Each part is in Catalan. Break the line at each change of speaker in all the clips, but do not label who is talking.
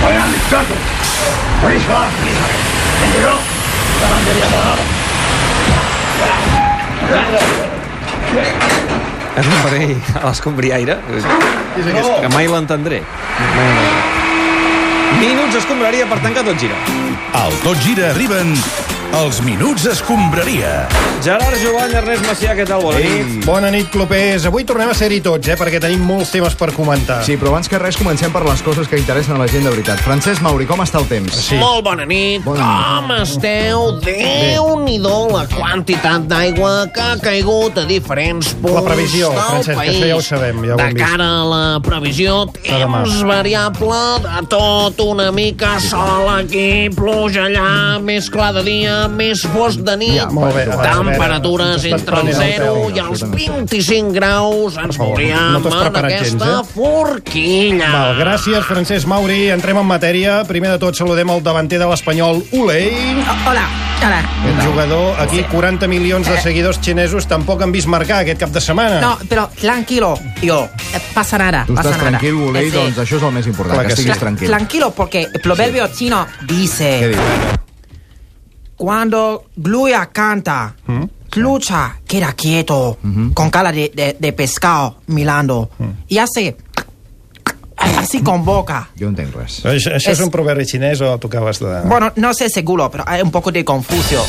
Juegan mis platos. Por eso, ¿entendió? La bandería
És un parell a l'escombriaire.
És aquest.
Que mai l'entendré. Mai l'entendré. Minuts escombraria per tancar tot gira.
Al Tot Gira arriben els Minuts Escombraria.
Gerard Joan, Ernest Macià, què tal? Bona nit.
Ei. Bona nit, clubers. Avui tornem a ser-hi tots, eh, perquè tenim molts temes per comentar.
Sí, però abans que res comencem per les coses que interessen a la gent de veritat. Francesc Mauri, com està el temps?
Sí.
Molt bona nit.
Bona nit.
Com esteu? Déu-n'hi-do la quantitat d'aigua que ha caigut a diferents punts
La previsió,
del
Francesc,
país.
això ja ho sabem, ja ho
de
hem vist.
cara a la previsió,
De demà.
temps variable, de tot una mica, sol aquí, pluja allà, més clar de dia, més fosc de nit,
Ja, molt
bé, a veure,
temperatures
t'estàs
entre el
prenent el
0
pèl.
i els 25 graus, ens
favor,
veuríem
no t'has
en
preparat gens,
aquesta
eh?
forquilla.
Val, gràcies, Francesc Mauri. Entrem en matèria. Primer de tot, saludem el davanter de l'Espanyol, Ulei.
Oh, Hola, hola.
Un jugador, aquí, 40 milions de seguidors xinesos, tampoc han vist marcar aquest cap de setmana.
No, però tranquilo, jo. Eh, Passa nada,
Tu
passa
estàs
nada.
tranquil, Volei,
Eh, sí.
doncs això és el més important,
Clar
que,
que sí.
estiguis
Tra-
tranquil.
Tranquilo, porque el proverbio chino
Què
dice,
dius?
cuando Gluya canta, Clucha queda quieto, con cara de, de, de pescado mirando, y hace así con boca.
Jo no entenc res.
Això, això és...
És-
un proverbi xinès o tocaves de...
Bueno, no sé seguro, pero hay un poco de confusión.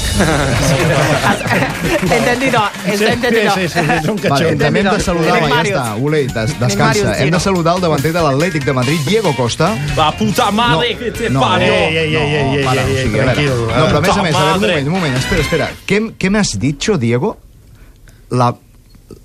entendido,
sí, sí,
entendido.
sí, sí, és un
Vale,
catxon.
també hem de saludar,
Anem
va, ja
Màrius.
està, Ulei, des,
Màrius,
descansa.
sí,
Hem
no.
de saludar el davanter de l'Atlètic de Madrid, Diego Costa.
La puta madre
No,
que te
no,
parió.
Ei, ei, ei, ei, ei,
para,
ei,
o
ei,
sigui, a veure.
tranquil.
No, però a més a més, a veure, un
Madre.
moment, un moment, espera, espera. Què, què m'has dicho, Diego? La,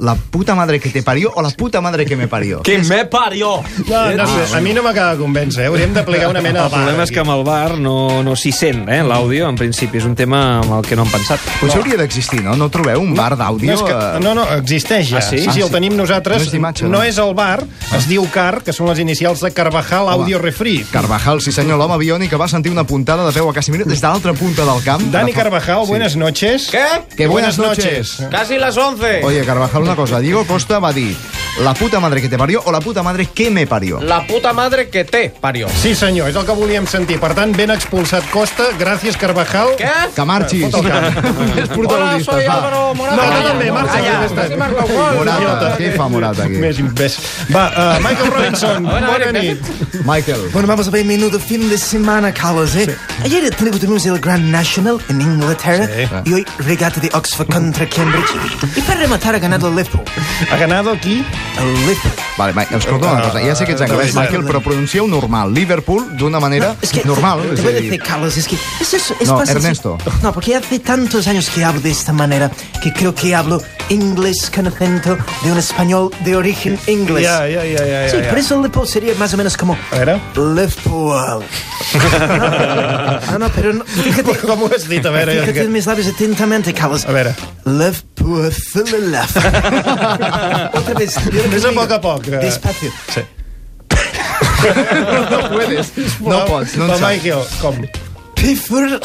la puta madre que te parió o la puta madre que me parió?
Que me parió.
No, no sé, a mi no m'acaba de convèncer. eh? Hauríem d'aplicar una mena de...
El problema és que amb el bar no, no s'hi sent, eh? L'àudio, en principi, és un tema amb el que no han pensat.
Potser hauria d'existir, no? No trobeu un bar d'àudio?
No, és que,
eh?
no, no, existeix ja.
Ah, sí?
sí, sí,
Ah,
el
sí.
tenim nosaltres.
No és d'imatge,
no.
no. Ah.
és el bar, es diu CAR, que són les inicials de Carvajal Audio Refri.
Carvajal, sí senyor, l'home biònic que va sentir una puntada de peu a Casemiro des de l'altra punta del camp. Ara
Dani
fa-
Carvajal, buenas noches.
Que buenas,
Buenas
noches.
Casi les 11.
Oye, Carvajal, una cosa. Diego Costa va dir la puta madre que te parió o la puta madre que me parió.
La puta madre que té, parió.
Sí, senyor, és el que volíem sentir. Per tant, ben expulsat Costa. Gràcies, Carvajal.
Que marxis.
Fot el
Més protagonistes, va.
Ah, No, tu també, marxa.
Ah,
Allà,
Ja està.
Morata, què fa Morata aquí?
Més imbès. Va, uh, Michael Robinson, bona nit.
Michael.
Bueno, vamos a ver menudo fin de semana, Carlos, ¿eh? Ayer tuvimos el Grand National en Inglaterra y hoy regata de Oxford contra Cambridge. Y para rematar ha ganado el Liverpool.
Ha ganado aquí?
El Liverpool.
Vale, Mike, escolta una cosa, ja sé que ets anglès,
no, no.
Michael, però pronuncieu normal. Liverpool d'una manera
Es que
Ah, normal.
te,
és
te
a
voy a
dir,
decir, Carlos, es que es eso, es
No,
fácil.
Ernesto.
No, porque hace tantos años que hablo de esta manera que creo que hablo inglés con acento de un español de origen inglés.
Ja, ja, ja, ja.
Sí,
ja,
por
ja.
eso Liverpool sería más o menos como
A veure.
Liverpool. No, no, pero no, fíjate,
Com ho has dit? A veure,
Fíjate en mis labios atentamente, Carlos.
A ver.
Love poor full of love. Otra vez.
Ves a poc a poc. eh.
Despacio.
Sí.
No puedes. No pots, no en
Va,
saps.
Michael, com?
Piffle.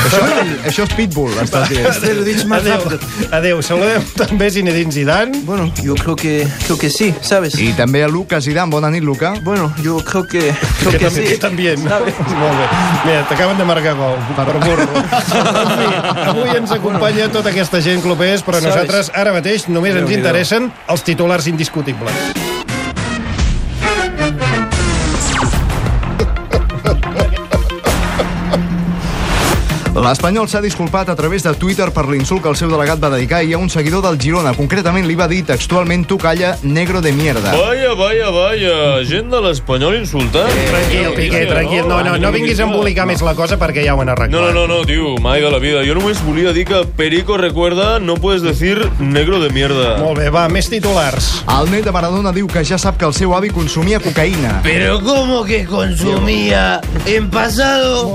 Això, això és Pitbull, estàs dient.
Este,
Te lo he dicho más
Adéu,
rápido.
adéu. Saludem també Zinedine Zidane.
Bueno, yo creo que, creo que sí, ¿sabes?
I també a Lucas Zidane. Bona nit, Luca.
Bueno, yo creo que, creo que,
Que, que,
sí.
també, que també. Molt bé. Mira, t'acaben de marcar gol per burro. En fi, avui ens acompanya tota aquesta gent clubers, però a nosaltres ara mateix només ens interessen els titulars indiscutibles.
L'Espanyol s'ha disculpat a través de Twitter per l'insult que el seu delegat va dedicar ahir a un seguidor del Girona. Concretament li va dir textualment tu calla, negro de mierda.
Vaya, vaya, vaya. Gent de l'Espanyol insultant.
Tranquil, Piqué, tranquil. No, no, no vinguis a embolicar més la cosa perquè ja ho han
No, no,
arreglat.
no, no, tio, mai de la vida. Jo només volia dir que Perico recuerda no puedes decir negro de mierda.
Molt bé, va, més titulars.
El net de Maradona diu que ja sap que el seu avi consumia cocaïna.
Pero ¿cómo que consumía en pasado?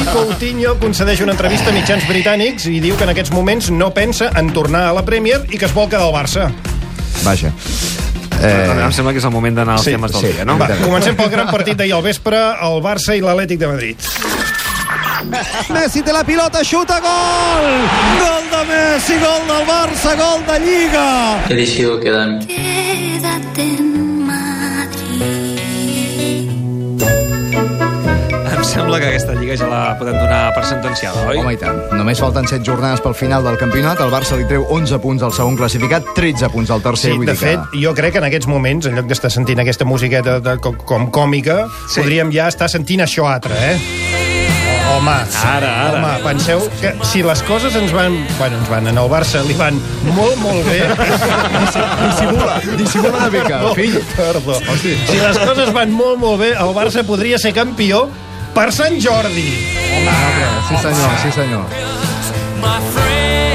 I Coutinho concedeix una entrevista a mitjans britànics i diu que en aquests moments no pensa en tornar a la Premier i que es vol quedar al Barça.
Vaja.
Eh... Em sembla que és el moment d'anar als
sí,
temes del
sí.
dia, no?
Va, comencem pel gran partit d'ahir al vespre, el Barça i l'Atlètic de Madrid.
Messi té la pilota, xuta, gol! Gol de Messi, gol del Barça, gol de Lliga!
He elegido quedarme.
Quédate en Madrid.
sembla que aquesta lliga ja la podem donar per sentenciada, oi?
Home, i tant. Només falten 7 jornades pel final del campionat. El Barça li treu 11 punts al segon classificat, 13 punts al tercer.
Sí,
vull
de
dir que-
fet, jo crec que en aquests moments, en lloc d'estar sentint aquesta musiqueta de, com, com còmica, sí. podríem ja estar sentint això altre, eh? Home,
Ara, ara.
home, penseu que si les coses ens van... Bueno, ens van, en el Barça li van molt, molt bé... Oh,
Dissimula, dissimula una mica, fill.
Perdó. Si les coses van molt, molt bé, el Barça podria ser campió per Sant Jordi.
Sí, senyor, sí, senyor.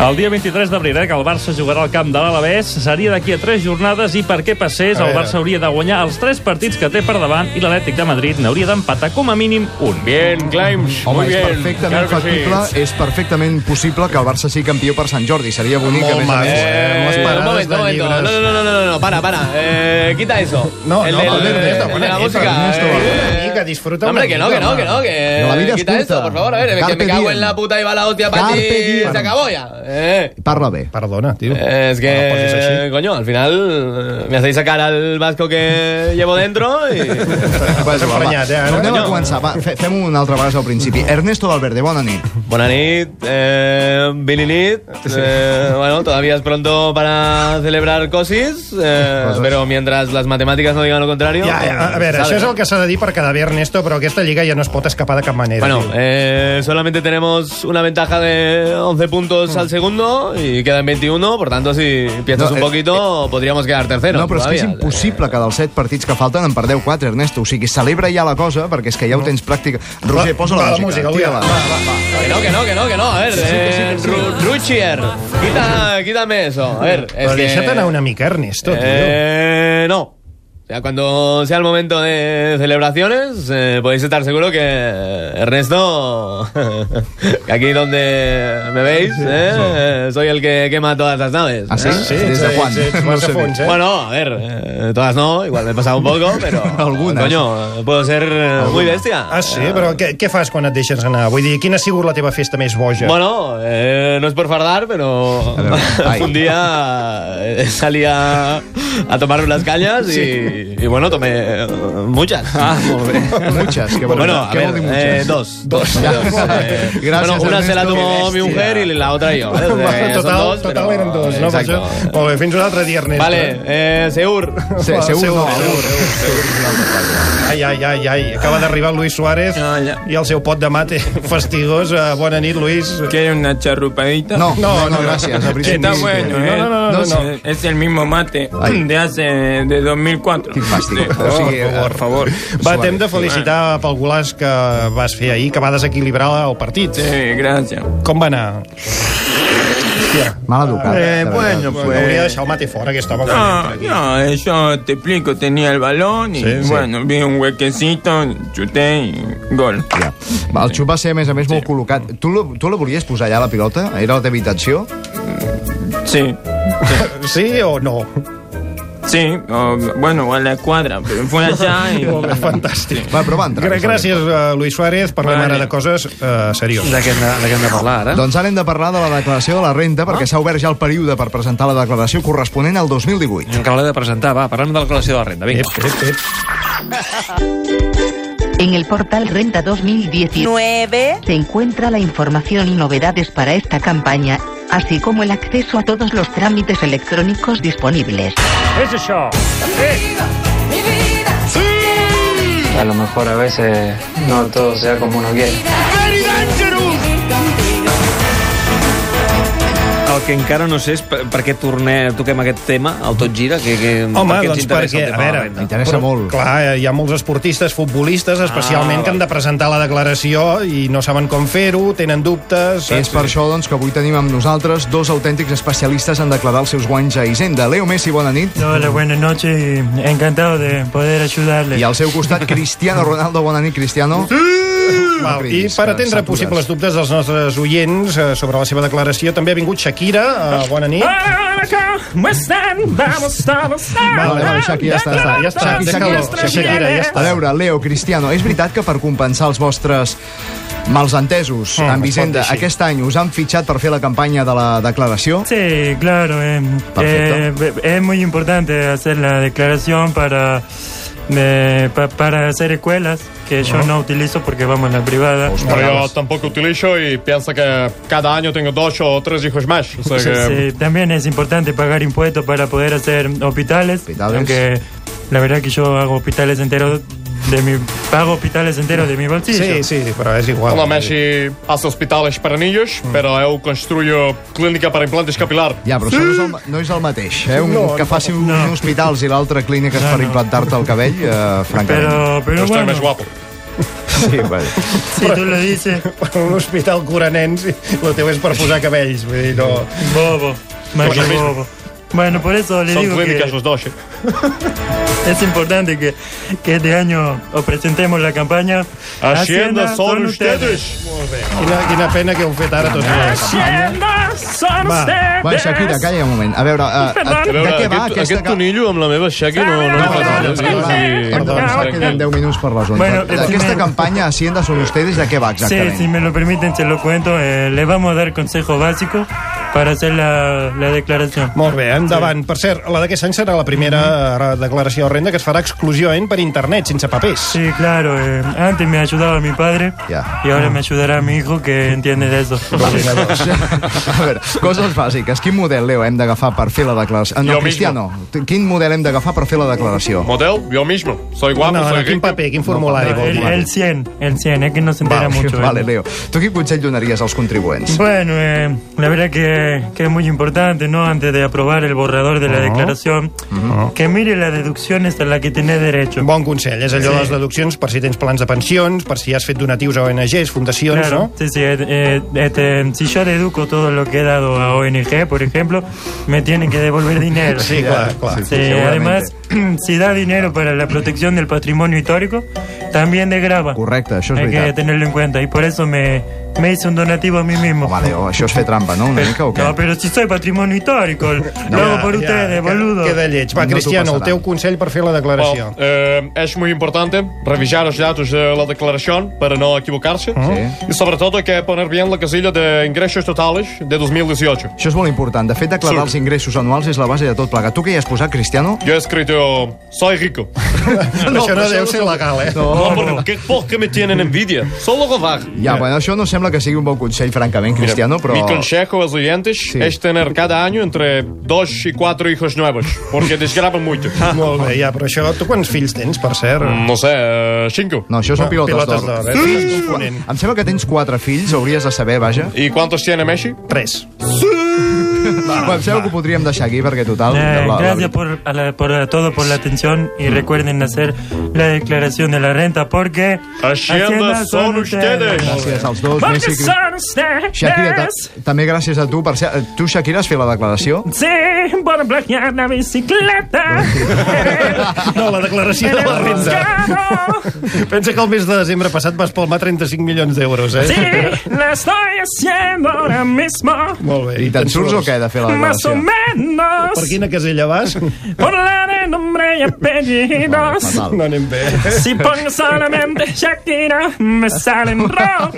El dia 23 d'abril, eh, que el Barça jugarà al camp de l'Alavés, seria d'aquí a 3 jornades i perquè passés
A
el
veure.
Barça hauria de guanyar els 3 partits que té per davant i l'Atlètic de Madrid n'hauria d'empatar com a mínim un.
Bien, Climes,
Home,
muy
és
bien.
perfectament
claro que sí.
factible, és perfectament possible que el Barça sigui campió per Sant Jordi. Seria bonic,
Molt
a més a
maco,
més.
eh? Amb les
Eh, un
parades
momento,
de
un momento. No,
llibres.
no, no, no, no, no, para, para. Eh, quita eso.
No, no,
del-
Ernesto,
el de la
Ernesto,
música.
Ernesto,
eh.
Una mica, disfruta una
Hombre, que no,
mica,
que no,
home.
que no, que
La vida es
quita
curta.
eso, por Eh, favor, a ver, que
Carpe
me cago
diem.
en la puta y va la hostia para ti,
Carpe diem.
se acabó ya. Eh.
Parla bé.
Perdona, tio.
Eh, Es
No
pues
posis
que,
així.
coño, al final eh, me hacéis sacar al vasco que llevo dentro y...
Vas, va, va.
emprenyat, eh, ara?
Tornem a
No.
començar, va, fe- fem un altre vegada al principi. Ernesto Valverde, bona nit.
Bona nit, eh, Billy Nit. Eh, bueno, todavía es pronto para celebrar cosis, eh,
Cosas.
pero mientras las matemáticas no digan lo contrario.
Ja, ja, a veure,
¿sabes?
això és el que s'ha de dir per quedar bé, Ernesto, però aquesta lliga ja no es pot escapar de cap manera.
Bueno,
tio.
eh, solamente tenemos una ventaja de 11 puntos al segundo y quedan 21, por tanto, si piensas
Mm. No,
un
eh,
poquito, podríamos quedar terceros.
no, però és que és
todavía. eh.
impossible que dels set partits que falten en perdeu quatre, Ernesto. O sigui, celebra ja la cosa, perquè és que ja ho tens pràctica. Roger, posa
va,
la,
la
música.
música, avui,
tira-la.
va,
Que no, que no, que no, que no. A ver, eh, Ru- Ruchier, quita- quítame eso. A ver, es
Però
que-
deixa't anar una mica, Ernesto, tio.
Eh, no. Ya cuando sea el momento de celebraciones, eh, podéis estar seguro que Ernesto, que aquí donde me veis, eh, soy el que quema todas las naves.
Ah, sí?
¿eh?
sí? Des de quan?
Sí, sí,
No
vas a
sé
fons, eh?
Bueno, a ver, eh, todas no, igual me he pasado un poco, pero
Algunas.
coño, eh, puedo ser eh, muy bestia.
Ah, sí? Però què, què fas quan et deixes anar? Vull dir, quina ha sigut la teva festa més boja?
Bueno, eh, no es por fardar, pero
A ver, ahí.
un día eh, salí a, a tomar unas cañas y, y bueno, tomé eh, muchas. Ah, muy bien.
Muchas, que vol,
Bueno, a
que
ver,
vol dir muchas.
eh, dos. Dos.
Ja.
dos, eh,
Gràcies,
bueno, una se la
Ernesto, que
tomó mi
bèstia.
mujer y la otra yo. ¿vale?
Va,
Eh, son
total,
dos,
total
pero-
eren dos, no? Per
Exacto.
això- Molt bé, fins un altre dia, Ernesto.
Vale, eh, Seur.
Sí, segur, no, segur.
Ai, ai, ai, ai. Acaba d'arribar el Luis Suárez
Ah, ja.
i el seu pot de mate fastigós. Eh, Bona nit, Luis.
¿Quiere una charrupadita?
No, no, no, gracias. a principi.
Está bueno, ¿eh?
No, no, no, no, no.
Es el mismo mate
Ay.
de hace de 2004.
Quin fàstic.
Sí.
O sigui, eh,
Por favor.
Va, t'hem de felicitar pel golaç que vas fer ahir, que va desequilibrar el partit.
Sí, gracias.
Com va anar?
Mal educat.
Eh,
de veritat.
bueno,
Bueno, hauria de
pues...
deixar el mate fora, aquest home.
No, no, eh, yo te explico, tenía el balón y bueno, vi un huequecito, chuté y gol.
Ja. Va, El xup va ser, a més a més, molt col·locat. Tu, lo- tu la volies posar allà, la pilota? Era la teva intenció?
Sí,
Sí o no?
sí, o, bueno, a la escuadra, pero fue allá y...
Molt bé, fantàstic.
Va, però va entrar.
Gra- Gràcies, eh, Luis Suárez. Parlem
Vale.
ara de coses eh, serioses.
De què hem de, de, què hem de parlar, ara?
Doncs ara hem de parlar de la declaració de la renta, perquè s'ha obert ja el període per presentar la declaració corresponent al 2018.
Encara l'he de presentar, va, parlem de la declaració de la renda, vinga.
Ep, ep, ep.
En el portal Renta 2019
9.
se encuentra la información y novedades para esta campaña, así como el acceso a todos los trámites electrónicos disponibles.
A lo mejor a veces no todo sea como uno quiere.
El que encara no sé és per, per què torne, toquem aquest tema, el tot gira, que, que,
Home,
per què ens
doncs
interessa
perquè, a
el tema de la
veure...
renda?
M'interessa molt.
Clar, hi ha molts esportistes, futbolistes, especialment,
Ah,
que han de presentar la declaració i no saben com fer-ho, tenen dubtes...
És per això doncs, que avui tenim amb nosaltres dos autèntics especialistes en declarar els seus guanys a Hisenda. Leo Messi, bona nit.
Hola, buenas noches. Encantado de poder ayudarle.
I al seu costat, Cristiano Ronaldo. Bona nit, Cristiano.
Val, I
cridis, eh,
per
que
atendre
satures.
possibles dubtes dels nostres oients eh, sobre la seva declaració, també ha vingut Shakira. Eh, bona nit.
Ah,
¿Cómo están? Vamos todos
Vale, vale, Shakira, ja està, ja està.
Ja està,
Shakira,
té calor.
Shakira,
Shakira, ja
A
està.
veure, Leo, Cristiano, és veritat que per compensar els vostres malentesos
Mm,
amb Hisenda,
es pot dir així.
aquest any us han fitxat per fer la campanya de la declaració?
Sí, claro. eh,
Perfecto.
em,
eh, es muy importante hacer la declaración para
de- pa- para hacer escuelas que yo no utilizo porque vamos a la privada.
Pero yo tampoco utilizo y piensa que cada año tengo dos o tres hijos más. O sea que...
Sí, también es importante pagar impuestos para poder hacer hospitales, aunque la verdad que yo hago hospitales enteros de mi pago hospitales enteros de mi bolsillo.
Sí,
sí, pero es igual.
Hola, Messi hace hospitales para niños, pero yo construyo clínica para implantes capilar.
Ja, però això no és el, ma- no és el mateix, eh? Un,
No,
que
no.
faci un, no. hospitals i l'altre clíniques no, per implantar-te el cabell, eh, francament.
Però- però Estoy bueno. más
guapo.
Sí, vale.
Si tu lo dices.
Un hospital cura nens i el teu és per posar cabells. Vull dir, no...
Bobo. Más
Pues lo
que
mismo.
bobo. Bueno, por eso le
Son
digo
clínicas
que
los dos. ¿eh?
es importante que, que este año os presentemos la campaña
Hacienda son ustedes.
Quina, quina pena que heu fet ara tots dos.
Va, va, Shakira, calla un moment. A veure, uh,
A
de
veure,
què va
aquest,
aquesta...
aquest tonillo amb la meva xeca no, no, no, no,
Perdó, ens queden 10 minuts per les 11.
Bueno,
Bueno, aquesta
primer-
campanya Hacienda són ustedes, de què va exactament?
Sí, si me lo permiten, se lo cuento. Eh, le vamos a dar consejo básico para hacer la, la declaración.
Molt bé, endavant. Per cert, la d'aquest any serà la primera eh, declaració de renda que es farà exclusivament per internet, sense papers.
Sí, claro. eh, antes me ayudaba mi padre y ahora me ayudará mi hijo que entiende de eso.
A veure, coses bàsiques. Quin model, Leo, hem d'agafar per fer la declaració? Ah, No,
Jo
Cristiano, tu- quin model hem d'agafar per fer la declaració?
Model, yo mismo. Soy guapo, soy rico.
eh, No, el, el 100, el 100, es que no se entera
Vale,
mucho. eh.
vale, Leo. Tu quin consell donaries als contribuents?
Bueno, eh, la verdad que, que es muy importante, ¿no? Antes de aprobar el borrador de la declaración, que mire las deducciones a las que tenés derecho.
Bon consell, és allò de les deduccions per si tens plans de pensions, per si has fet donatius a ONGs, fundacions,
Claro, sí, sí. eh, eh, este, si yo deduco todo lo que he dado a ONG, por ejemplo, me tienen que devolver dinero.
Sí, claro, claro.
Sí,
Sí, sí,
además, si da dinero para la protección del patrimonio histórico, también desgrava.
Correcte, això és
Hay que
veritat.
tenerlo en cuenta. Y por eso me, me hice un donativo a mí mismo.
Vale, o això és fer trampa, no? Una mica o què?
No, pero si soy patrimonio histórico, lo hago por ustedes, boludo. Eh, Oh.
Queda lleig. Va,
No t'ho
Cristiano, el
passaran.
teu consell per fer la declaració.
Bom, eh, es muy importante revisar los datos de la declaración para no equivocarse. Y sobre todo hay que poner bien la casilla de ingresos totales de 2018.
Això és molt important. De fet, declarar els ingressos anuals és la base de tot plegat. Tu què hi has posat, Cristiano?
Yo he escrito, soy rico.
No, Això no però deu ser solo- legal, eh?
No,
No.
porque, ¿qué, porque me tienen envidia. Solo robar.
Ja, bueno, això no sembla que sigui un bon consell, francament, Cristiano, però...
Mi consejo a los oyentes es tener cada año entre dos y cuatro hijos nuevos, porque desgraban mucho.
Molt bé, ja, però això... Tu quants fills tens, per cert?
No sé, eh, cinco.
No, això són Mm. pilotes, d'or.
eh?
Sí. Em sembla que tens quatre fills, hauries de saber, vaja.
¿Y cuántos tiene Messi?
Tres.
Bueno, em sembla que ho podríem deixar aquí, perquè total...
Eh,
la- la-
gracias por, a la- por a todo por la atención y recuerden hacer la declaración de la renta porque
Gràcies als dos, Messi, Cri- Shakira, ta també gràcies a tu. Per ser... eh, Tu, Shakira, has fet la declaració?
Sí, por bloquear la bicicleta.
No, la declaració de la renda. Pensa que el mes de desembre passat vas palmar 35 milions d'euros, eh?
Sí, la estoy haciendo ahora mismo.
Molt bé.
I te'n surts o què, de fer la
Más o
declaració?
menos.
Per quina casella vas?
Por la de nombre y apellidos.
No anem bé.
Si pongo solamente Shakira, me salen rojos.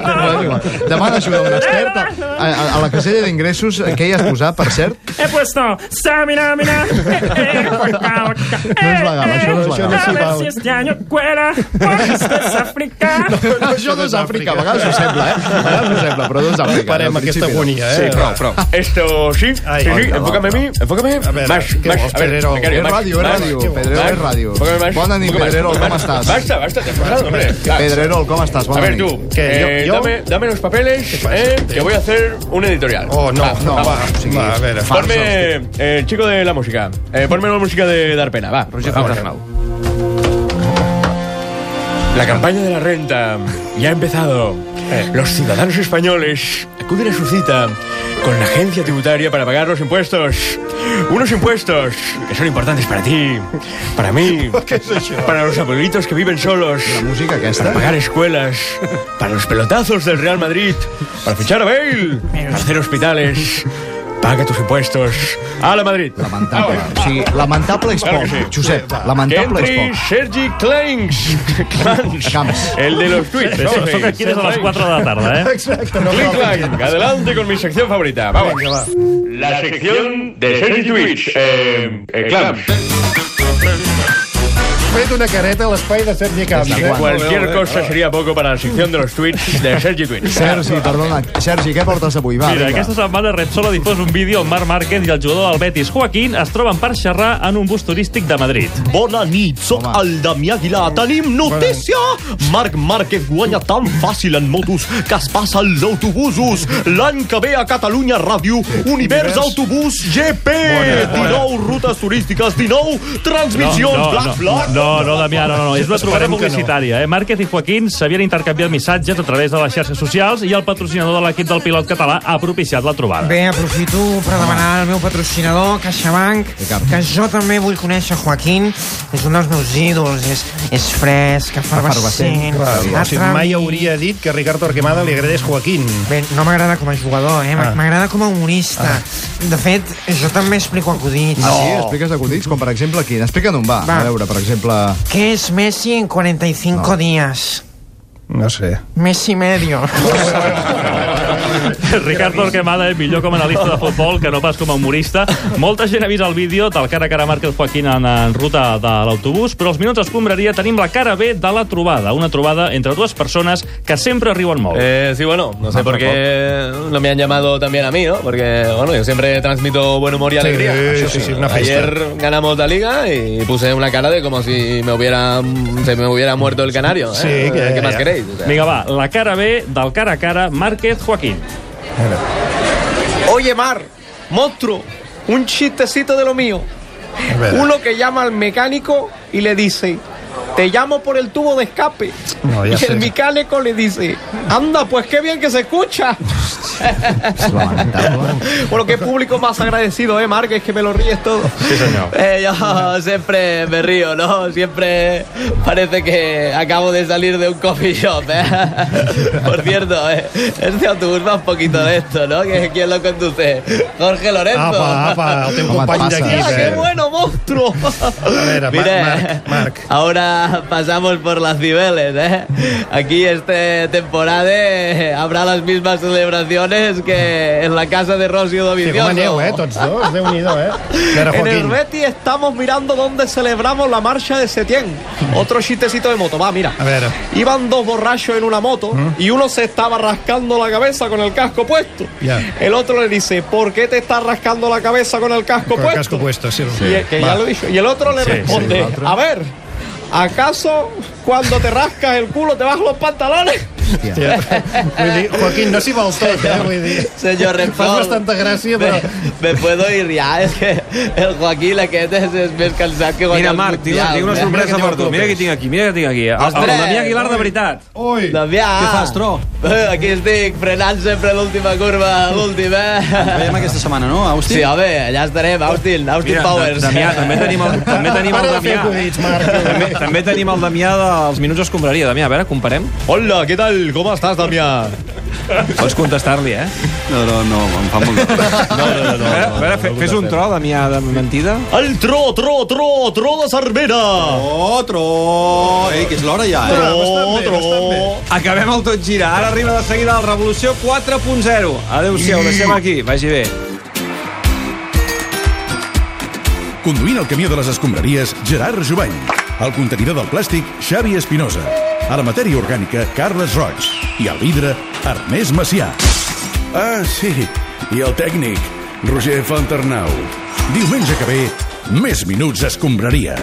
Demana ajuda un expert a, a, a la casella d'ingressos. eh, Què hi has posat, per cert?
He puesto Samina, mina, eh, eh, boca, boca,
No és legal, això no és
eh,
legal.
A ver si este año cuela, porque esto es África.
No, això no és Àfrica, a vegades ho sembla, eh? A vegades ho sembla, però no és Àfrica.
Parem
Al
aquesta
principi no.
agonia, eh?
Sí, prou,
prou.
Esto sí,
Ay,
sí,
va,
sí,
va,
enfócame a mí, enfócame.
A ver,
Max,
¿qué
Max,
vos,
a ver,
Pedrero?
Macario,
Es
Max,
radio, es
Max,
radio,
Max,
Pedrero
Max,
es radio.
enfócame, Max,
Bona nit,
enfócame,
Pedrero,
enfócame.
¿com estàs?
Basta, basta, te has pasado, hombre.
Pedrerol, com estàs?
A
Bona
ver
nit.
tú, eh,
Jo- jo-
dame, dame los papeles eh, que voy a hacer un editorial.
Oh, no,
Ah,
no, va, va, a ver,
Ponme,
falsos.
eh, chico de la música, eh, ponme la música de Dar Pena, va. Roger
Vale,
Fabra. La campaña de la renta ya ha empezado.
Eh.
Los ciudadanos españoles acuden a su cita con la agencia tributaria para pagar los impuestos. Unos impuestos que son importantes para ti, para mí, para los abuelitos que viven solos,
música que
para pagar escuelas, para los pelotazos del Real Madrid, para fichar a Bale, para hacer hospitales. Paga tus impuestos. A la Madrid.
Lamentable. O sigui, lamentable és
Claro
poc,
que sí.
Josep. Lamentable és
Henry
poc.
Sergi Clanks. Clanks. El de los tweets.
Eso- eso que quieres a las cuatro de la tarde, ¿eh?
Exacto. Clink, clank. Adelante con mi sección favorita. Vamos. La sección de Sergi Twitch. Eh, eh, Clanks.
fet una careta a l'espai de Sergi Camps. Eh?
Cualquier cosa sería poco para la sección de los tweets de Sergi Tweets.
Sergi, perdona. Sergi, què portes avui? Va,
Mira,
vinga.
aquesta setmana Repsol ha difós un vídeo on Marc Márquez i el jugador del Betis, Joaquín, es troben per xerrar en un bus turístic de Madrid.
Bona nit, sóc el Damià Aguilar. Tenim notícia! Marc Márquez guanya tan fàcil en motos que es passa als autobusos. L'any que ve a Catalunya Ràdio, Univers Autobús GP. 19 rutes turístiques, 19 transmissions,
no,
bla,
no,
bla.
No, no, Damià, no, no, no. És una trobada
Esperem que no.
publicitària. Eh? Márquez i Joaquín s'havien intercanviat missatges a través de les xarxes socials i el patrocinador de l'equip del pilot català ha propiciat la trobada.
Bé, aprofito per demanar al meu patrocinador, CaixaBank, que jo també vull conèixer Joaquín. És un dels meus ídols, és, és fresc, efervescent.
Clar, o sigui, mai
atrevit.
hauria dit que Ricardo Arquemada li agradés Joaquín.
Bé, no m'agrada com a jugador, eh?
Ah.
M'agrada com a humorista. De fet, jo també explico acudits.
Ah, sí? Expliques acudits? Com, per exemple, quin? Explica'n on va.
Va.
A veure, per exemple...
Què és Messi en 45
No.
dies?
No sé.
Messi medio.
Ricardo Orquemada és eh, millor com a analista de futbol que no pas com a humorista. Molta gent ha vist el vídeo del cara a cara Márquez Joaquín en, en ruta de l'autobús, però als minuts escombraria tenim la cara B de la trobada, una trobada entre dues persones que sempre riuen molt.
Eh, sí, bueno, no
Ah,
sé por qué no me han llamado también a mí, ¿no? Porque, bueno, yo siempre transmito buen humor y
Sí,
alegría.
sí, sí, una fiesta.
Ayer ganamos la liga y puse una cara de como si me hubiera, se me hubiera muerto el canario. ¿eh?
Sí,
¿Qué más queréis? O sea.
Vinga, va, la cara B del cara a cara Márquez Joaquín.
Oye, Mar, monstruo, un chistecito de lo mío.
ver.
Uno que llama al mecánico y le dice, te llamo por el tubo de escape.
No,
y
ya
el
sé.
mecánico le dice, anda, pues qué bien que se escucha. bueno, qué público más agradecido, ¿eh, Mar? Que es que me lo ríes todo.
Sí, señor.
Eh, ya,
No, siempre me río, ¿no? Siempre parece que acabo de salir de un coffee shop, ¿eh? Por cierto, eh, este autobús va un poquito de esto, ¿no? Que- ¿Quién lo conduce? Jorge Lorenzo.
Apa,
Ah,
apa, el teu Home, company passa. d'equip,
Ah,
eh?
¡Qué bueno, monstruo! A
ver,
ahora pasamos por las Cibeles, ¿eh? Aquí este temporada eh, habrá las mismas celebraciones que en la casa de Rocío
Sí,
Dovizioso.
com aneu, eh, tots dos? Déu-n'hi-do, eh? Mira,
En el
Joaquín.
Betty estamos mirando dónde celebramos la marcha de Setién. Otro chistecito de moto. Va, mira.
A ver.
Iban dos borrachos en una moto y uno se estaba rascando la cabeza con el casco puesto.
Ja.
El otro le dice, ¿por qué te estás rascando la cabeza con el casco
Con el
puesto?
casco puesto, sí.
Y, el- que ya
Va.
lo he dicho. Y el otro le
Sí, sí,
responde,
el otro.
a ver, ¿acaso cuando te rascas el culo te bajas los pantalones?
Hòstia. Vull dir, Joaquín, no s'hi val tot, eh? Vull dir...
Senyor Repsol.
Fas bastanta gràcia, però...
Me, me puedo ir ya, es que el Joaquín aquest és, és més cansat que
Mira,
guanyar
Marc, tinc, tinc
¿eh?
una sorpresa per tu. Mira qui tinc aquí, mira qui tinc aquí. El, el
Ostres!
Damià Aguilar de veritat.
Ui!
Damià!
Què fas, tro?
Eh, Aquí estic, frenant sempre l'última curva, l'última. Ens
veiem aquesta setmana, no, Austin?
Sí, home, allà estarem, Austin, Austin
Mira,
Powers.
Da- Damià, també tenim el, també tenim el Damià. També, també tenim el Damià dels Minuts Escombraria. Damià, a veure, comparem.
Hola, què tal? Com estàs, Damià?
Pots contestar-li, eh? No, no, no, em fa molt de... No, no, no. no, a veure, fe- fes un tro, Damià, de mentida.
El tro, tro, tro, tro de Cervera. Tro, tro. Ei, que és l'hora ja,
eh?
Tro, tro.
Acabem el tot girar. Ara arriba de seguida el Revolució 4.0. Adéu-siau, deixem aquí. Vagi bé.
Conduint el camió de les escombraries, Gerard Jubany. El contenidor del plàstic, Xavi Espinosa. A la matèria orgànica, Carles Roig. I al vidre, Ernest Macià. Ah, sí, i el tècnic, Roger Fontarnau. Diumenge que ve, més minuts escombraria.